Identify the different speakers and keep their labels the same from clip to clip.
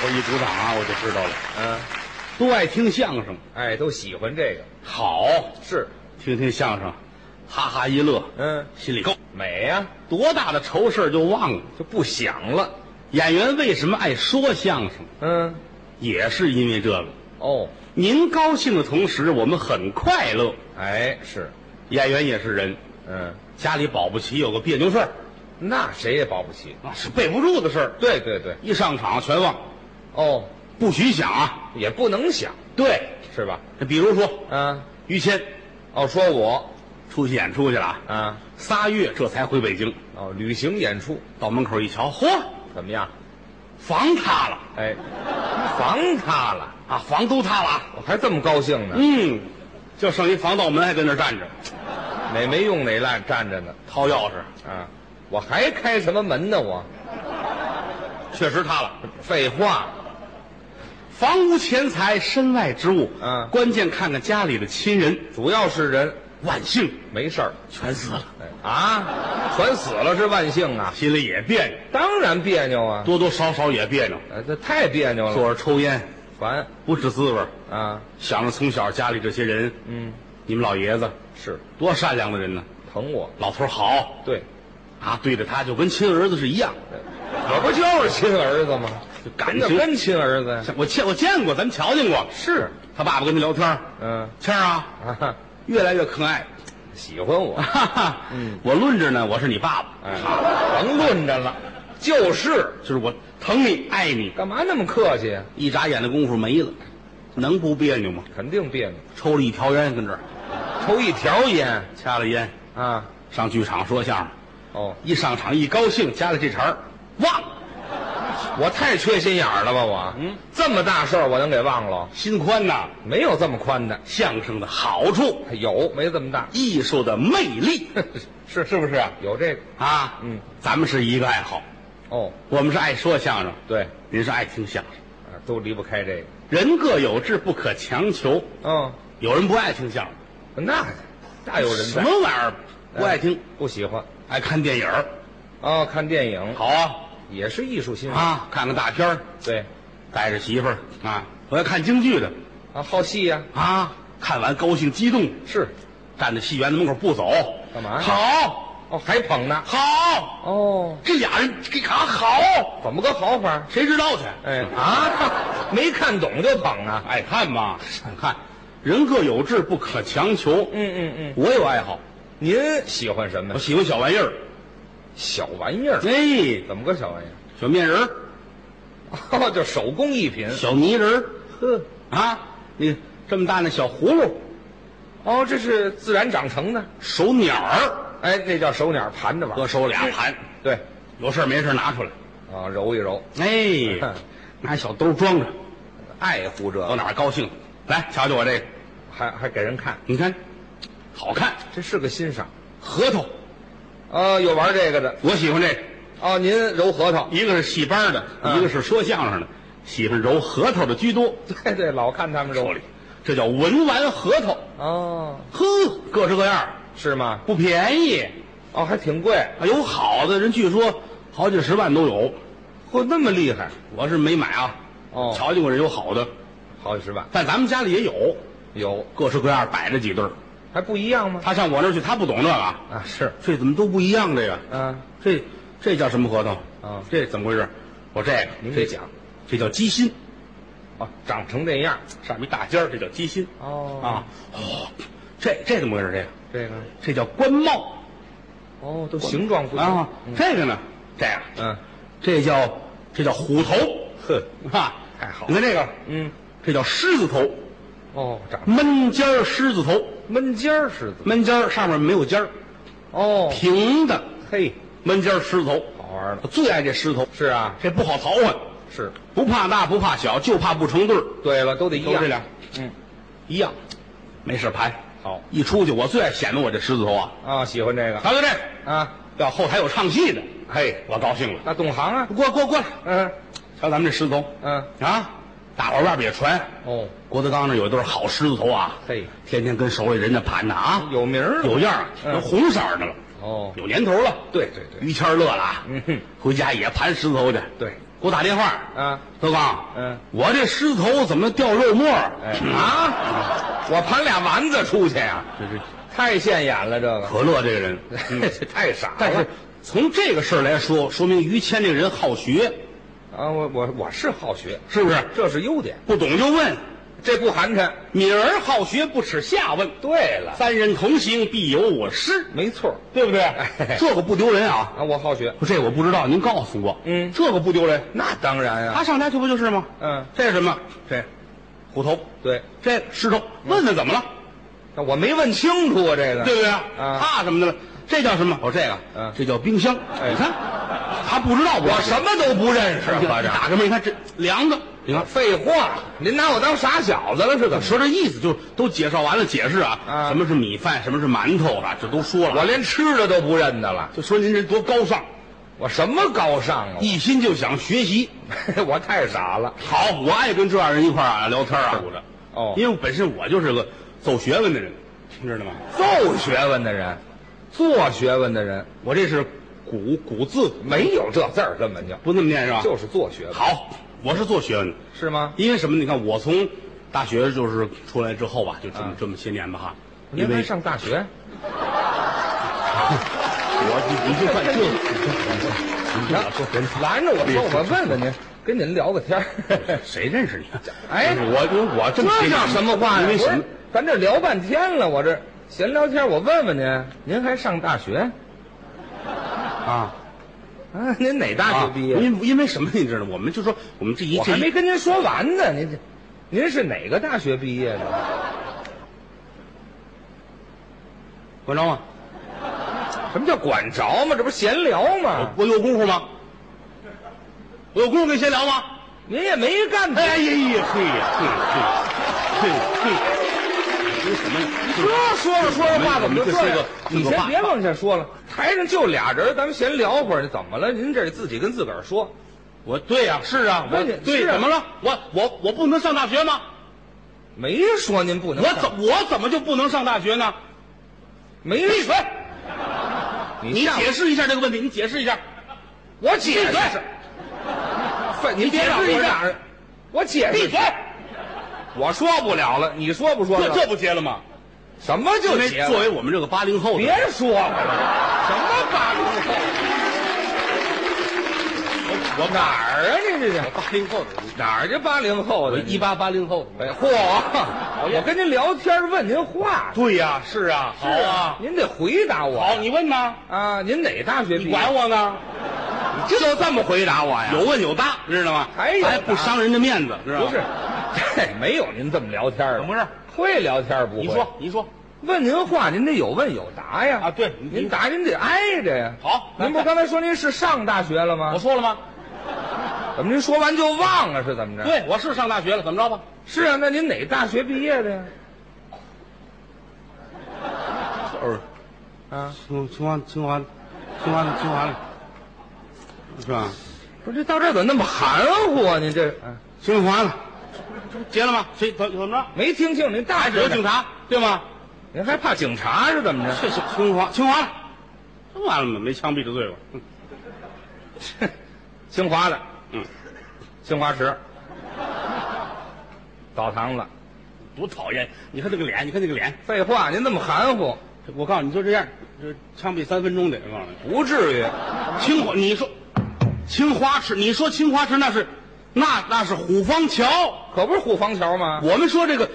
Speaker 1: 头一鼓掌啊，我就知道了，
Speaker 2: 嗯，
Speaker 1: 都爱听相声，
Speaker 2: 哎，都喜欢这个，
Speaker 1: 好，
Speaker 2: 是，
Speaker 1: 听听相声，哈哈一乐，
Speaker 2: 嗯，
Speaker 1: 心里高，
Speaker 2: 美呀、
Speaker 1: 多大的愁事儿就忘了。
Speaker 2: 就不想了，
Speaker 1: 演员为什么爱说相声，
Speaker 2: 嗯，
Speaker 1: 也是因为这个。
Speaker 2: 哦，
Speaker 1: 您高兴的同时，我们很快乐。
Speaker 2: 哎，是，
Speaker 1: 演员也是人，
Speaker 2: 嗯，
Speaker 1: 家里保不齐有个别扭事儿，
Speaker 2: 那谁也保不齐，
Speaker 1: 那是备不住的事儿。
Speaker 2: 对对对，
Speaker 1: 一上场全忘，
Speaker 2: 哦，
Speaker 1: 不许想啊！
Speaker 2: 也不能想，
Speaker 1: 对，
Speaker 2: 是吧？
Speaker 1: 比如说
Speaker 2: 嗯，
Speaker 1: 于谦
Speaker 2: 哦，说我，
Speaker 1: 出去演出去了啊，
Speaker 2: 啊，
Speaker 1: 仨月这才回北京，
Speaker 2: 哦，旅行演出
Speaker 1: 到门口一瞧，嚯，
Speaker 2: 怎么样？
Speaker 1: 房塌了
Speaker 2: 哎，房塌了，
Speaker 1: 啊，房都塌了啊，
Speaker 2: 我还这么高兴呢，
Speaker 1: 嗯，就剩一防盗门还跟那儿站着，
Speaker 2: 哪没用哪烂站着呢，
Speaker 1: 掏钥匙，
Speaker 2: 啊，我还开什么门呢？我
Speaker 1: 确实塌了。
Speaker 2: 废话，
Speaker 1: 房无钱财，身外之物。
Speaker 2: 嗯
Speaker 1: 关键看看家里的亲人，
Speaker 2: 主要是人
Speaker 1: 万幸
Speaker 2: 没事儿。
Speaker 1: 全死了，
Speaker 2: 哎啊，全死了是万幸啊，
Speaker 1: 心里也别扭，
Speaker 2: 当然别扭啊，
Speaker 1: 多多少少也别扭。
Speaker 2: 呃，这太别扭
Speaker 1: 坐
Speaker 2: 了，
Speaker 1: 着抽烟，
Speaker 2: 烦
Speaker 1: 不是滋味儿。
Speaker 2: 啊，
Speaker 1: 想着从小家里这些人，
Speaker 2: 嗯，
Speaker 1: 你们老爷子
Speaker 2: 是
Speaker 1: 多善良的人呢，
Speaker 2: 疼我，
Speaker 1: 老头儿好
Speaker 2: 对，
Speaker 1: 啊，对着他就跟亲儿子是一样，
Speaker 2: 我不就是亲儿子吗？
Speaker 1: 就感
Speaker 2: 真的
Speaker 1: 情。
Speaker 2: 跟亲儿子呀？
Speaker 1: 我见我见过，咱们瞧见过。
Speaker 2: 是，
Speaker 1: 他爸爸跟他聊天儿，
Speaker 2: 嗯
Speaker 1: 谦儿啊，
Speaker 2: 啊哈，
Speaker 1: 越来越可爱。
Speaker 2: 喜欢我，
Speaker 1: 哈哈，我论着呢，我是你爸爸，
Speaker 2: 哎，甭论着了，就是
Speaker 1: 就是我疼你爱你。
Speaker 2: 干嘛那么客气呀？啊
Speaker 1: 一眨眼的功夫没了，能不别扭吗？
Speaker 2: 肯定别扭，
Speaker 1: 抽了一条烟，跟这儿
Speaker 2: 抽一条烟
Speaker 1: 掐了烟，
Speaker 2: 啊，
Speaker 1: 上剧场说相声。
Speaker 2: 哦，
Speaker 1: 一上场一高兴，加了这茬儿，忘了
Speaker 2: 我太缺心眼儿了吧我？
Speaker 1: 嗯，
Speaker 2: 这么大事儿我能给忘了？
Speaker 1: 心宽呐。
Speaker 2: 没有这么宽的，
Speaker 1: 相声的好处，
Speaker 2: 有没这么大？
Speaker 1: 艺术的魅力
Speaker 2: 是是不是啊？有这个
Speaker 1: 啊。
Speaker 2: 嗯，
Speaker 1: 咱们是一个爱好，
Speaker 2: 哦，
Speaker 1: 我们是爱说相声，
Speaker 2: 对，
Speaker 1: 您是爱听相声。
Speaker 2: 啊都离不开这个。
Speaker 1: 人各有志，不可强求。
Speaker 2: 嗯，
Speaker 1: 有人不爱听相声，
Speaker 2: 那大有人
Speaker 1: 什
Speaker 2: 在，哎
Speaker 1: 么玩意儿不爱听，
Speaker 2: 不喜欢
Speaker 1: 爱看电影儿
Speaker 2: 啊、哦？看电影
Speaker 1: 好啊
Speaker 2: 也是艺术欣赏，
Speaker 1: 啊，看看大片儿，
Speaker 2: 对
Speaker 1: 带着媳妇儿啊，我要看京剧的
Speaker 2: 啊，好戏呀、
Speaker 1: 啊，看完高兴激动，
Speaker 2: 是
Speaker 1: 站在戏园子门口不走，
Speaker 2: 干嘛呀
Speaker 1: 好，
Speaker 2: 哦，还捧呢
Speaker 1: 好，
Speaker 2: 哦，
Speaker 1: 这俩人这卡好，
Speaker 2: 怎么个好法？
Speaker 1: 谁知道去？
Speaker 2: 哎啊，没看懂就捧啊？
Speaker 1: 爱看嘛，爱看。人各有志，不可强求。
Speaker 2: 嗯嗯嗯，
Speaker 1: 我有爱好，
Speaker 2: 您喜欢什么
Speaker 1: 我？喜欢小玩意儿，
Speaker 2: 小玩意儿？
Speaker 1: 哎，
Speaker 2: 怎么个小玩意儿？
Speaker 1: 小面人儿、
Speaker 2: 哦，就手工艺品。
Speaker 1: 小泥人儿
Speaker 2: 呵，
Speaker 1: 啊，那个这么大那小葫芦、
Speaker 2: 哦，这是自然长成的。
Speaker 1: 手鸟儿，
Speaker 2: 哎，那叫呃手鸟盘着玩
Speaker 1: 各
Speaker 2: 儿。
Speaker 1: 手俩盘，
Speaker 2: 对，
Speaker 1: 有事儿没事儿拿出来，
Speaker 2: 啊，揉一揉，
Speaker 1: 哎，
Speaker 2: 嗯
Speaker 1: 拿小兜装着，
Speaker 2: 爱护这
Speaker 1: 到
Speaker 2: 个，
Speaker 1: 哪儿高兴来瞧瞧我这个，
Speaker 2: 哦还还给人看，
Speaker 1: 你看，好看，
Speaker 2: 这是个欣赏。
Speaker 1: 核桃，
Speaker 2: 啊，有玩这个的
Speaker 1: 我喜欢这个。
Speaker 2: 哦，您揉核桃，
Speaker 1: 一个是戏班的，
Speaker 2: 嗯
Speaker 1: 一个是说相声的，喜欢揉核桃的居多。
Speaker 2: 对对，老看他们揉
Speaker 1: 手里，这叫文玩核桃。
Speaker 2: 哦，
Speaker 1: 呵，各式各样儿，
Speaker 2: 是吗？
Speaker 1: 不便宜。
Speaker 2: 哦，还挺贵，
Speaker 1: 啊有好的人，据说好几十万都有。
Speaker 2: 嚯，那么厉害，
Speaker 1: 我是没买啊，
Speaker 2: 哦
Speaker 1: 瞧见过人有好的，
Speaker 2: 好几十万
Speaker 1: 但咱们家里也有，
Speaker 2: 有，
Speaker 1: 各式各样儿摆着几对儿。
Speaker 2: 还不一样吗？
Speaker 1: 他上我那儿去，他不懂这个啊，
Speaker 2: 啊，是，
Speaker 1: 这怎么都不一样？这个，
Speaker 2: 啊，
Speaker 1: 这这叫什么核桃？
Speaker 2: 啊
Speaker 1: 这怎么回事？我这个，
Speaker 2: 您
Speaker 1: 这
Speaker 2: 给讲，
Speaker 1: 这叫鸡心，
Speaker 2: 哦，长成这样，
Speaker 1: 上面一大尖儿，这叫鸡心。
Speaker 2: 哦啊，
Speaker 1: 啊，哦，这这怎么回事？这个
Speaker 2: 这个，
Speaker 1: 这叫官帽
Speaker 2: 哦，都形状不一
Speaker 1: 啊
Speaker 2: 样，，
Speaker 1: 这个呢，这样，
Speaker 2: 嗯，
Speaker 1: 这叫这叫虎头
Speaker 2: 呵，
Speaker 1: 啊，
Speaker 2: 太好了
Speaker 1: 你看这个，
Speaker 2: 嗯，
Speaker 1: 这叫狮子头，
Speaker 2: 哦，长
Speaker 1: 闷尖儿狮子头，
Speaker 2: 闷尖儿似的，
Speaker 1: 闷尖儿上面没有尖儿，
Speaker 2: 哦，
Speaker 1: 平的
Speaker 2: 嘿，
Speaker 1: 闷尖儿狮子头。
Speaker 2: 好玩
Speaker 1: 我
Speaker 2: 了，
Speaker 1: 最爱这狮子头，
Speaker 2: 是啊，
Speaker 1: 这不好淘换，
Speaker 2: 是，
Speaker 1: 不怕大不怕小，就怕不成对儿，
Speaker 2: 对了，都得一
Speaker 1: 都
Speaker 2: 样，
Speaker 1: 这俩
Speaker 2: 嗯，
Speaker 1: 一样，没事盘。
Speaker 2: 好
Speaker 1: 一出去我最爱显摆我这狮子头啊，
Speaker 2: 啊，喜欢这个
Speaker 1: 瞧瞧这个，
Speaker 2: 啊，
Speaker 1: 要后台有唱戏的，
Speaker 2: 嘿，
Speaker 1: 我高兴了。
Speaker 2: 那懂行啊，
Speaker 1: 过过过来，
Speaker 2: 嗯
Speaker 1: 瞧咱们这狮子头
Speaker 2: 嗯，
Speaker 1: 啊！大伙儿外边也传，
Speaker 2: 哦，
Speaker 1: 郭德纲那有一对好狮子头啊，
Speaker 2: 嘿，
Speaker 1: 天天跟手里人家盘呢啊，
Speaker 2: 有名儿了
Speaker 1: 有样儿，
Speaker 2: 嗯
Speaker 1: 都红色儿的了，
Speaker 2: 哦，
Speaker 1: 有年头了。
Speaker 2: 对对对
Speaker 1: 于谦儿乐了啊，
Speaker 2: 嗯哼
Speaker 1: 回家也盘石头去，
Speaker 2: 对，
Speaker 1: 给我打电话
Speaker 2: 啊，
Speaker 1: 德刚，
Speaker 2: 嗯，
Speaker 1: 我这石头怎么掉肉沫儿？
Speaker 2: 哎
Speaker 1: 啊，
Speaker 2: 我盘俩丸子出去呀、
Speaker 1: 这是
Speaker 2: 太现眼了，这个
Speaker 1: 啊可乐这个 人，嗯
Speaker 2: 这太傻了。
Speaker 1: 但是从这个事儿来说，说明于谦这个人好学，
Speaker 2: 啊，我我我是好学，
Speaker 1: 是不是？
Speaker 2: 这是优点，
Speaker 1: 不懂就问，
Speaker 2: 这不寒碜。
Speaker 1: 敏而好学，不耻下问。
Speaker 2: 对了，
Speaker 1: 三人同行，必有我师，
Speaker 2: 没错儿
Speaker 1: 对不对？
Speaker 2: 哎
Speaker 1: 这个不丢人啊。
Speaker 2: 啊，我好学。
Speaker 1: 这我不知道，您告诉我。
Speaker 2: 嗯
Speaker 1: 这个不丢人。
Speaker 2: 那当然呀、
Speaker 1: 他上家去不就是吗？
Speaker 2: 嗯，
Speaker 1: 这是什么？
Speaker 2: 这
Speaker 1: 虎头，
Speaker 2: 对，
Speaker 1: 这石头，
Speaker 2: 嗯
Speaker 1: 问问怎么了，
Speaker 2: 那我没问清楚啊，这个
Speaker 1: 对不对？
Speaker 2: 嗯
Speaker 1: 怕什么的了？这叫什么？哦，这个，
Speaker 2: 嗯
Speaker 1: 这叫冰箱。
Speaker 2: 哎
Speaker 1: 你看，他不知道不知道哎
Speaker 2: 我什么都不认识，
Speaker 1: 你
Speaker 2: 合
Speaker 1: 看
Speaker 2: 着。
Speaker 1: 打开门一看，这凉的。你看，
Speaker 2: 废话，您拿我当傻小子了是怎么？
Speaker 1: 说这意思就是都介绍完了，解释啊，
Speaker 2: 嗯
Speaker 1: 什么是米饭，什么是馒头啊，这都说了。
Speaker 2: 我哦连吃的都不认得了，
Speaker 1: 就说您这多高尚，
Speaker 2: 我什么高尚啊？
Speaker 1: 一心就想学习。
Speaker 2: 我太傻了。
Speaker 1: 好，我爱跟这样人一块儿啊聊天啊，
Speaker 2: 哦
Speaker 1: 因为我本身我就是个走学问的人，你知道吗？
Speaker 2: 奏学问的人，做学问的人，
Speaker 1: 我这是古古字，
Speaker 2: 没有这字儿，根本就
Speaker 1: 不那么念是吧？
Speaker 2: 就是做学问，
Speaker 1: 啊好，我是做学问的，
Speaker 2: 是吗？
Speaker 1: 因为什么呢？你看我从大学就是出来之后吧，就这么、
Speaker 2: 啊
Speaker 1: 这么些年吧哈，
Speaker 2: 您
Speaker 1: 因
Speaker 2: 还
Speaker 1: 为
Speaker 2: 上大学？
Speaker 1: 我你你就算
Speaker 2: 你瞧
Speaker 1: 这，你。
Speaker 2: 拦着我说，我问问您，跟您聊个天儿
Speaker 1: 谁认识你？
Speaker 2: 哎
Speaker 1: 我我我这么
Speaker 2: 这叫什么话
Speaker 1: 因
Speaker 2: 呀？
Speaker 1: 为
Speaker 2: 不
Speaker 1: 什
Speaker 2: 是
Speaker 1: 么？，
Speaker 2: 咱这聊半天了，我这闲聊天，我问问您，您还上大学？
Speaker 1: 啊？
Speaker 2: 啊，您哪大学毕业？
Speaker 1: 因因为什么你知道吗？我们就说我们这一
Speaker 2: 我
Speaker 1: 啊这
Speaker 2: 还
Speaker 1: 一
Speaker 2: 没跟您说完呢，您这，您是哪个大学毕业的？
Speaker 1: 管着吗？
Speaker 2: 什么叫管着吗？这不是闲聊吗？
Speaker 1: 啊我有功夫吗？我有功夫跟你闲聊吗？
Speaker 2: 您也没干别
Speaker 1: 哎呀呀，嘿呀嘿呀嘿呀嘿呀嘿！什么呀？
Speaker 2: 这说着说着话怎么就这样？
Speaker 1: 你
Speaker 2: 你
Speaker 1: 先
Speaker 2: 先
Speaker 1: 别
Speaker 2: 别往下说了，台上就俩人，咱们闲聊会儿，怎么了？您这自己跟自个儿说，
Speaker 1: 我对呀、是啊，我
Speaker 2: 对呀
Speaker 1: 对
Speaker 2: 是啊
Speaker 1: 怎么了？我我我不能上大学吗？
Speaker 2: 没说您不能
Speaker 1: 我
Speaker 2: 上。
Speaker 1: 怎我怎么就不能上大学呢？
Speaker 2: 没
Speaker 1: 闭嘴！
Speaker 2: 说？你
Speaker 1: 你
Speaker 2: 上
Speaker 1: 解释一下这个问题，你解释一下。
Speaker 2: 我
Speaker 1: 闭
Speaker 2: 解
Speaker 1: 嘴！
Speaker 2: 释，分您
Speaker 1: 别
Speaker 2: 别
Speaker 1: 让
Speaker 2: 让
Speaker 1: 我
Speaker 2: 我
Speaker 1: 让
Speaker 2: 俩人，我解
Speaker 1: 闭
Speaker 2: 释
Speaker 1: 嘴！！
Speaker 2: 我说不了了，你说不说
Speaker 1: 这
Speaker 2: 了？
Speaker 1: 这不结了吗？
Speaker 2: 什么就
Speaker 1: 因为
Speaker 2: 结了？
Speaker 1: 作为我们这个八零后的，
Speaker 2: 别说了，什么八零后？我哪儿啊？这这这
Speaker 1: 八零后的，
Speaker 2: 哪儿这八零后
Speaker 1: 我
Speaker 2: 的？
Speaker 1: 一八八零后的。
Speaker 2: 哎嚯！我跟您聊天问您话，
Speaker 1: 对呀、是啊，好啊，
Speaker 2: 您得回答我。
Speaker 1: 好，你问呐，
Speaker 2: 啊，您哪大学毕
Speaker 1: 你
Speaker 2: 业？
Speaker 1: 管我呢，
Speaker 2: 就这么回答我哎呀？
Speaker 1: 有问有答，知道吗？
Speaker 2: 还有答
Speaker 1: 还不伤人的面子，知道吗？
Speaker 2: 不是，嘿，没有您这么聊天的。
Speaker 1: 怎么回事？
Speaker 2: 会聊天不会？
Speaker 1: 你说，你说，
Speaker 2: 问您话，您得有问有答呀。
Speaker 1: 啊对您
Speaker 2: 您答您得挨着呀。
Speaker 1: 好
Speaker 2: 您不
Speaker 1: 那
Speaker 2: 是刚才说您是上大学了吗
Speaker 1: 我？说了吗？
Speaker 2: 怎么您说完就忘了是怎么着？，
Speaker 1: 对，我是上大学了，怎么着吧？
Speaker 2: 是啊，那您哪大学毕业的呀？
Speaker 1: 就是
Speaker 2: 啊，
Speaker 1: 清清华清华清华清华的，是吧？
Speaker 2: 不是这到这儿怎么那么含糊啊？您这、啊、
Speaker 1: 清华的，这不结了吗？谁怎怎么着？
Speaker 2: 没听清您大学
Speaker 1: 有
Speaker 2: 哪
Speaker 1: 警，察对吗？
Speaker 2: 您还怕警察是怎么着？
Speaker 1: 这是清华清华的，这完了吗？没枪毙的罪过。嗯
Speaker 2: 清华的，
Speaker 1: 嗯，
Speaker 2: 清华池，澡堂子。
Speaker 1: 多讨厌！你看这个脸，你看这个脸，
Speaker 2: 废话，您这么含糊，
Speaker 1: 我告诉你，就这样，这枪毙三分钟得。我告诉你，
Speaker 2: 不至于。
Speaker 1: 清华，你说清华池，你说清华池那是那那是虎坊桥，
Speaker 2: 可不是虎坊桥吗？
Speaker 1: 我们说这个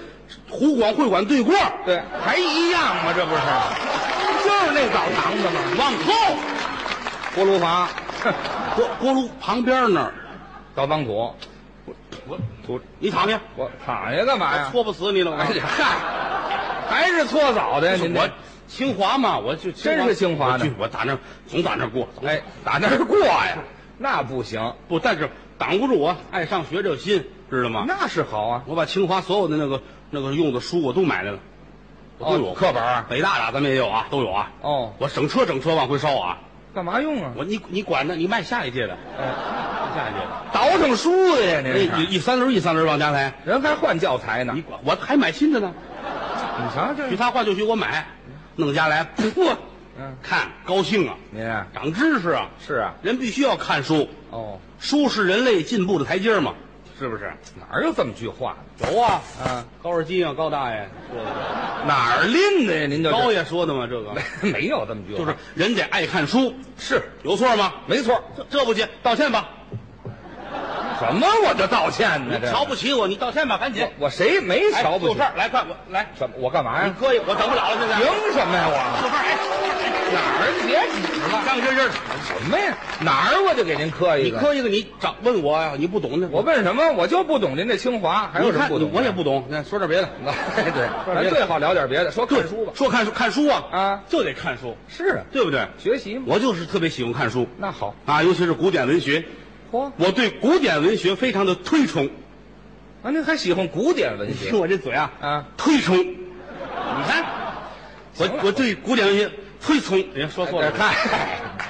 Speaker 1: 湖广会馆对过，
Speaker 2: 对，还一样吗？这不是，就是那澡堂子吗？
Speaker 1: 往后
Speaker 2: 锅炉房，
Speaker 1: 锅锅炉旁边那儿，
Speaker 2: 倒脏土，
Speaker 1: 我我你躺下，
Speaker 2: 我躺下干嘛呀？
Speaker 1: 搓不死你了。我告
Speaker 2: 哎
Speaker 1: 诉你
Speaker 2: 呀，嗨，还是搓澡的呀？您这
Speaker 1: 我清华嘛，我就
Speaker 2: 真是清华的
Speaker 1: 我就我打那儿总打那儿过，总
Speaker 2: 哎，打那儿过呀？那不行，
Speaker 1: 不，但是挡不住我爱上学这个心，知道吗？
Speaker 2: 那是好啊。
Speaker 1: 我把清华所有的那个那个用的书我都买来了，我都有。
Speaker 2: 哦课本儿
Speaker 1: 北大的咱们也有啊，都有啊。
Speaker 2: 哦，
Speaker 1: 我整车整车往回烧啊！
Speaker 2: 干嘛用啊？
Speaker 1: 我你你管呢？你卖下一届的，
Speaker 2: 哎，
Speaker 1: 下一届的，
Speaker 2: 倒腾书的呀？您
Speaker 1: 那
Speaker 2: 是
Speaker 1: 一一三轮一三轮往家抬，
Speaker 2: 人还换教材呢？
Speaker 1: 你
Speaker 2: 你
Speaker 1: 管我还买新的呢。
Speaker 2: 你瞧这
Speaker 1: 许他换就许我买，弄家来，嚯，
Speaker 2: 嗯
Speaker 1: 看高兴啊，
Speaker 2: 您啊
Speaker 1: 长知识啊，
Speaker 2: 是啊，
Speaker 1: 人必须要看书，
Speaker 2: 哦，
Speaker 1: 书是人类进步的台阶嘛，是不是？
Speaker 2: 哪有这么句话呢？
Speaker 1: 有啊，
Speaker 2: 啊，
Speaker 1: 高尔基啊，高大爷说
Speaker 2: 哪儿拎的呀？您就
Speaker 1: 的，高
Speaker 2: 是
Speaker 1: 爷说的嘛，这个
Speaker 2: 没有这么 句话，
Speaker 1: 就是人得爱看书，
Speaker 2: 是
Speaker 1: 有错吗？
Speaker 2: 没错。
Speaker 1: 这这不行，道歉吧，
Speaker 2: 什么我就道歉呢？
Speaker 1: 你
Speaker 2: 哎这
Speaker 1: 瞧不起我，你道歉吧，赶紧。
Speaker 2: 我谁没
Speaker 1: 哎
Speaker 2: 瞧不
Speaker 1: 就
Speaker 2: 起哎
Speaker 1: 这？儿来，快我来，
Speaker 2: 怎么我干嘛
Speaker 1: 你
Speaker 2: 呀？
Speaker 1: 搁一个，我等不了了，现在。
Speaker 2: 凭什么呀我？
Speaker 1: 就这儿，哎，
Speaker 2: 哪儿别指了？
Speaker 1: 张真真儿，
Speaker 2: 什么呀？哪儿我就给您磕一
Speaker 1: 你
Speaker 2: 个。
Speaker 1: 磕一个，你找问我呀，你不懂的，
Speaker 2: 我问什么？我就不懂您这清华，还有
Speaker 1: 你
Speaker 2: 什么
Speaker 1: 看
Speaker 2: 不懂
Speaker 1: 你
Speaker 2: 的？
Speaker 1: 我也不懂，那说点 别的。
Speaker 2: 哎， 对，
Speaker 1: 说
Speaker 2: 咱
Speaker 1: 别的
Speaker 2: 最好聊点别的，说看书吧。
Speaker 1: 说看书，看书啊，
Speaker 2: 啊，
Speaker 1: 就得看书，
Speaker 2: 是啊，
Speaker 1: 对不对？
Speaker 2: 学习嘛。
Speaker 1: 我就是特别喜欢看书
Speaker 2: 那好，
Speaker 1: 啊，尤其是古典文学，
Speaker 2: 嚯，
Speaker 1: 我对古典文学非常的推崇。
Speaker 2: 啊，您还喜欢古典文学
Speaker 1: 听我这嘴啊，
Speaker 2: 啊？
Speaker 1: 推崇。你看，
Speaker 2: 行
Speaker 1: 我
Speaker 2: 了
Speaker 1: 我对古典文学推崇。人家说错了，
Speaker 2: 嗨，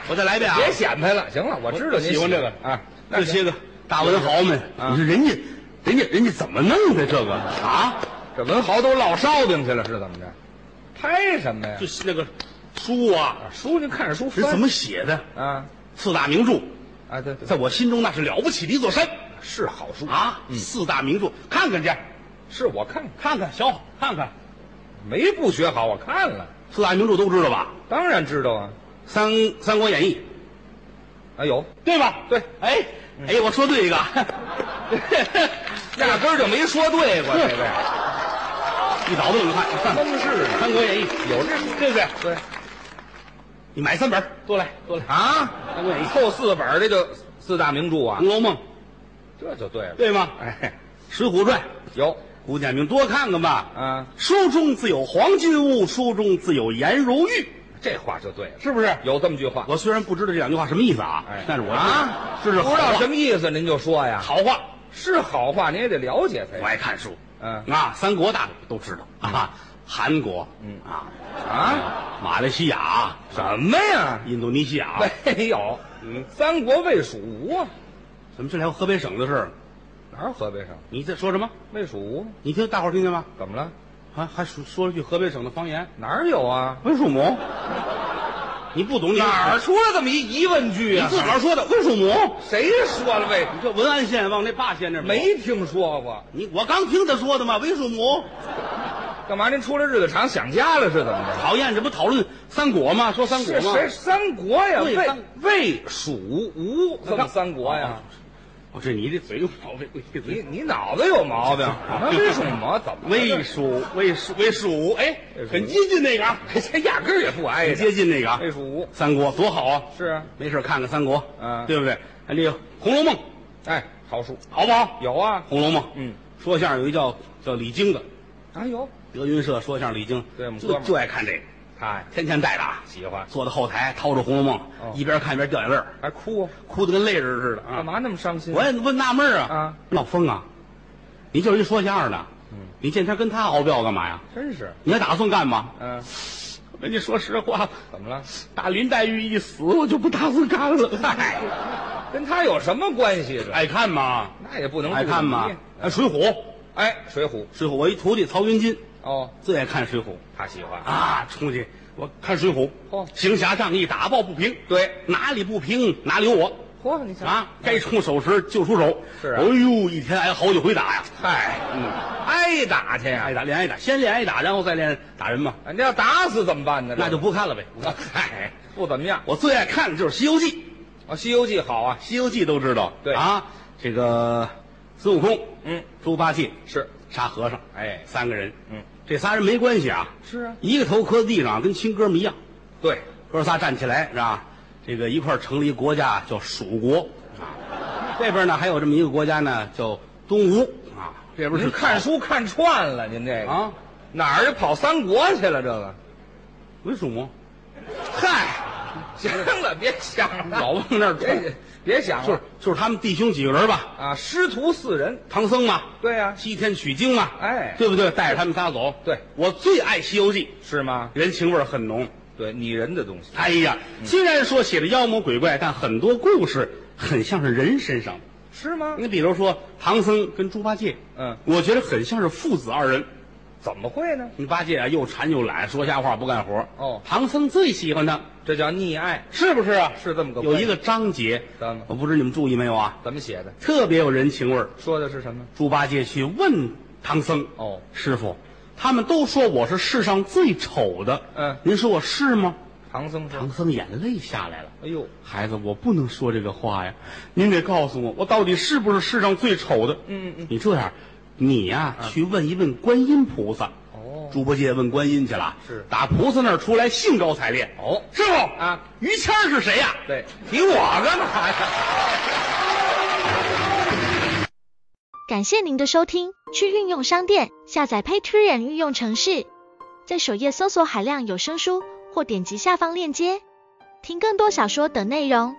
Speaker 1: 我再来一遍啊。
Speaker 2: 别显摆了。行了，我知道您
Speaker 1: 喜欢这个
Speaker 2: 啊。那
Speaker 1: 这
Speaker 2: 行
Speaker 1: 些个大文豪们，
Speaker 2: 啊
Speaker 1: 你说人家，人家，人家怎么弄的这个啊？
Speaker 2: 这文豪都烙烧饼去了，是怎么着？拍什么呀？
Speaker 1: 就是那个书啊，
Speaker 2: 书您看着书
Speaker 1: 人
Speaker 2: 翻
Speaker 1: 怎么写的？
Speaker 2: 啊？
Speaker 1: 四大名著，
Speaker 2: 啊，对对，
Speaker 1: 在我心中那是了不起的一座山
Speaker 2: 是好书，
Speaker 1: 啊！四大名著，看看去，
Speaker 2: 是我看看
Speaker 1: 看看小好，看看
Speaker 2: 没不学好，我看了，
Speaker 1: 四大名著都知道吧？
Speaker 2: 当然知道啊。
Speaker 1: 《三三国演义》，
Speaker 2: 啊，有，
Speaker 1: 对吧？
Speaker 2: 对
Speaker 1: 哎哎，我说对一个，
Speaker 2: 压根儿就没说对过，这位
Speaker 1: 一早就能看《
Speaker 2: 真是的
Speaker 1: 三国演义》，
Speaker 2: 有这书，
Speaker 1: 对不对？
Speaker 2: 对
Speaker 1: 你买三本儿，多来多来，《
Speaker 2: 啊，
Speaker 1: 三国演义》《
Speaker 2: 凑四本儿这就四大名著啊
Speaker 1: 红，楼梦》，
Speaker 2: 这就对了。
Speaker 1: 对吗？
Speaker 2: 哎，
Speaker 1: 《水浒传》，
Speaker 2: 有
Speaker 1: 古典名多看看吧。
Speaker 2: 啊，
Speaker 1: 书中自有黄金屋，书中自有颜如玉，
Speaker 2: 这话就对了，
Speaker 1: 是不是？
Speaker 2: 有这么句话，
Speaker 1: 我虽然不知道这两句话什么意思啊，
Speaker 2: 哎
Speaker 1: 但是我
Speaker 2: 啊
Speaker 1: 知道这是
Speaker 2: 不知
Speaker 1: 好
Speaker 2: 道
Speaker 1: 话
Speaker 2: 什么意思，您就说呀。
Speaker 1: 好话。
Speaker 2: 是好话，您也得了解才
Speaker 1: 我爱看书，
Speaker 2: 哎嗯
Speaker 1: 啊，三国大都知道啊，韩国，
Speaker 2: 嗯
Speaker 1: 啊，
Speaker 2: 啊。
Speaker 1: 马来西亚、
Speaker 2: 什么呀？
Speaker 1: 印度尼西亚，
Speaker 2: 没有，
Speaker 1: 嗯
Speaker 2: 三国魏蜀吴啊，
Speaker 1: 怎么这还有河北省的事儿？
Speaker 2: 哪有河北省
Speaker 1: 你在说什么？
Speaker 2: 魏蜀吴？
Speaker 1: 你听大伙儿听见吗？
Speaker 2: 怎么了？
Speaker 1: 还还说说了句河北省的方言，
Speaker 2: 哪儿有啊？
Speaker 1: 温树母，你不懂你
Speaker 2: 哪儿出来这么一疑问句
Speaker 1: 你
Speaker 2: 啊？
Speaker 1: 自个儿说的温树母。
Speaker 2: 谁说了魏？
Speaker 1: 你这文安县往那霸县那儿跑
Speaker 2: 没听说过，
Speaker 1: 你，我刚听他说的嘛，魏树母
Speaker 2: 干嘛？您出来日子长想家了是怎么着？
Speaker 1: 讨厌，这不讨论三国吗？说三国
Speaker 2: 是
Speaker 1: 吗？
Speaker 2: 谁？三国呀？
Speaker 1: 对
Speaker 2: 魏
Speaker 1: 三
Speaker 2: 魏蜀吴怎么三国呀？
Speaker 1: 哦，这你这嘴有毛病，你这
Speaker 2: 你
Speaker 1: 嘴。
Speaker 2: 你脑子有毛 病？那魏蜀吴怎么了？
Speaker 1: 魏蜀魏蜀魏蜀，哎
Speaker 2: 魏，蜀
Speaker 1: 很接近那个啊，
Speaker 2: 这压根儿也不挨
Speaker 1: 很
Speaker 2: 着
Speaker 1: 接。近那个啊。
Speaker 2: 魏蜀吴
Speaker 1: 三国多好啊，
Speaker 2: 是啊，
Speaker 1: 没事看看三国，
Speaker 2: 嗯
Speaker 1: 对不对？还那个《红楼梦》
Speaker 2: 哎，好书
Speaker 1: 好不好？
Speaker 2: 有啊
Speaker 1: 《红楼梦》，
Speaker 2: 嗯，
Speaker 1: 说相声有一叫叫李菁的，
Speaker 2: 啊有，
Speaker 1: 德云社说相声李菁，
Speaker 2: 对我们哥
Speaker 1: 就
Speaker 2: 们儿
Speaker 1: 就爱看这个，
Speaker 2: 他呀
Speaker 1: 天天带着啊，
Speaker 2: 喜欢，
Speaker 1: 坐在后台掏着《红楼梦
Speaker 2: 哦》，
Speaker 1: 一边看一边掉眼泪儿。
Speaker 2: 还哭啊。
Speaker 1: 哭得跟泪人似的
Speaker 2: 干
Speaker 1: 啊！
Speaker 2: 嘛那么伤心？
Speaker 1: 我也问纳闷儿啊，
Speaker 2: 啊
Speaker 1: 老风啊，你就是一说相声的，
Speaker 2: 嗯
Speaker 1: 你见天跟他熬不要干嘛呀？
Speaker 2: 真是，
Speaker 1: 你还打算干嘛？
Speaker 2: 嗯、
Speaker 1: 人家说实话，
Speaker 2: 怎么了？
Speaker 1: 打林黛玉一死，我就不打算干了。嗨，
Speaker 2: 跟他有什么关系？这
Speaker 1: 爱看吗？
Speaker 2: 那也不能
Speaker 1: 爱看
Speaker 2: 嘛
Speaker 1: 吗？？哎，《水浒》，《
Speaker 2: 哎，水浒
Speaker 1: 水浒》，我一徒弟曹云金
Speaker 2: 哦，
Speaker 1: 最爱看《水浒》
Speaker 2: 他喜欢。
Speaker 1: 啊，出去我看《水浒》
Speaker 2: 哦
Speaker 1: 行侠仗义，打抱不平，
Speaker 2: 对，
Speaker 1: 哪里不平哪里有我。
Speaker 2: 嚯，你瞧，
Speaker 1: 啊，该出手时就出手。
Speaker 2: 是啊
Speaker 1: 哎呦，一天挨了好几回打呀。
Speaker 2: 嗨，
Speaker 1: 嗯，
Speaker 2: 挨打去呀、
Speaker 1: 挨打练挨打，先练挨打，然后再练打人嘛，
Speaker 2: 啊！你要打死怎么办呢？
Speaker 1: 那 就不看了呗。哎
Speaker 2: 这个嗨，不怎么样。
Speaker 1: 我最爱看的就是《西游记》，
Speaker 2: 哦，《西游记》好啊，
Speaker 1: 《西游记》都知道，
Speaker 2: 对
Speaker 1: 啊，这个孙悟空、
Speaker 2: 嗯，
Speaker 1: 猪八戒、
Speaker 2: 是，
Speaker 1: 沙和尚，
Speaker 2: 哎，
Speaker 1: 三个人，
Speaker 2: 嗯，
Speaker 1: 这仨人没关系啊，
Speaker 2: 是啊，
Speaker 1: 一个头磕地上，跟亲哥们一样，
Speaker 2: 对，
Speaker 1: 哥仨站起来是吧？这个一块儿成立国家叫蜀国啊，这边呢还有这么一个国家呢叫东吴啊，这边是
Speaker 2: 您看书看串了，您这个
Speaker 1: 啊，
Speaker 2: 哪儿就跑三国去了？这个，
Speaker 1: 为什么？
Speaker 2: 嗨，行了，别想了，
Speaker 1: 老往那儿
Speaker 2: 别
Speaker 1: 转，
Speaker 2: 别想了，
Speaker 1: 就是就是他们弟兄几个人吧，
Speaker 2: 啊，师徒四人，
Speaker 1: 唐僧嘛，
Speaker 2: 对啊呀、
Speaker 1: 西天取经嘛，
Speaker 2: 哎
Speaker 1: 对不对？带着他们仨走。
Speaker 2: 对，
Speaker 1: 我最爱《西游记
Speaker 2: 是吗》，？
Speaker 1: 人情味儿很浓。
Speaker 2: 对，拟人的东西，
Speaker 1: 哎呀，
Speaker 2: 嗯
Speaker 1: 虽然说写的妖魔鬼怪，但很多故事很像是人身上的。
Speaker 2: 是吗？
Speaker 1: 你比如说唐僧跟猪八戒，
Speaker 2: 嗯，
Speaker 1: 我觉得很像是父子二人。
Speaker 2: 怎么会呢？
Speaker 1: 你八戒啊，又馋又懒，说瞎话不干活。
Speaker 2: 哦
Speaker 1: 唐僧最喜欢他，
Speaker 2: 这叫溺爱，
Speaker 1: 是不是啊？
Speaker 2: 是这么个
Speaker 1: 有一个章节
Speaker 2: 怎么，
Speaker 1: 我不知你们注意没有啊？
Speaker 2: 怎么写的？
Speaker 1: 特别有人情味儿。
Speaker 2: 说的是什么？
Speaker 1: 猪八戒去问唐僧
Speaker 2: 哦，
Speaker 1: 师傅，他们都说我是世上最丑的，
Speaker 2: 嗯
Speaker 1: 您说我是吗？
Speaker 2: 唐僧说
Speaker 1: 唐僧眼泪下来了。：“
Speaker 2: 哎呦，
Speaker 1: 孩子，我不能说这个话呀！您得告诉我，我到底是不是世上最丑的？
Speaker 2: 嗯嗯
Speaker 1: 你这样，你呀、去问一问观音菩萨。
Speaker 2: 哦
Speaker 1: 猪八戒问观音去了，
Speaker 2: 是
Speaker 1: 打菩萨那儿出来，兴高采烈。
Speaker 2: 哦
Speaker 1: 师傅
Speaker 2: 啊，
Speaker 1: 于谦儿是谁呀、
Speaker 2: 对，
Speaker 1: 提我干嘛呀？
Speaker 3: 感谢您的收听，去应用商店下载 Patreon 应用城市，在首页搜索海量有声书，或点击下方链接听更多小说等内容。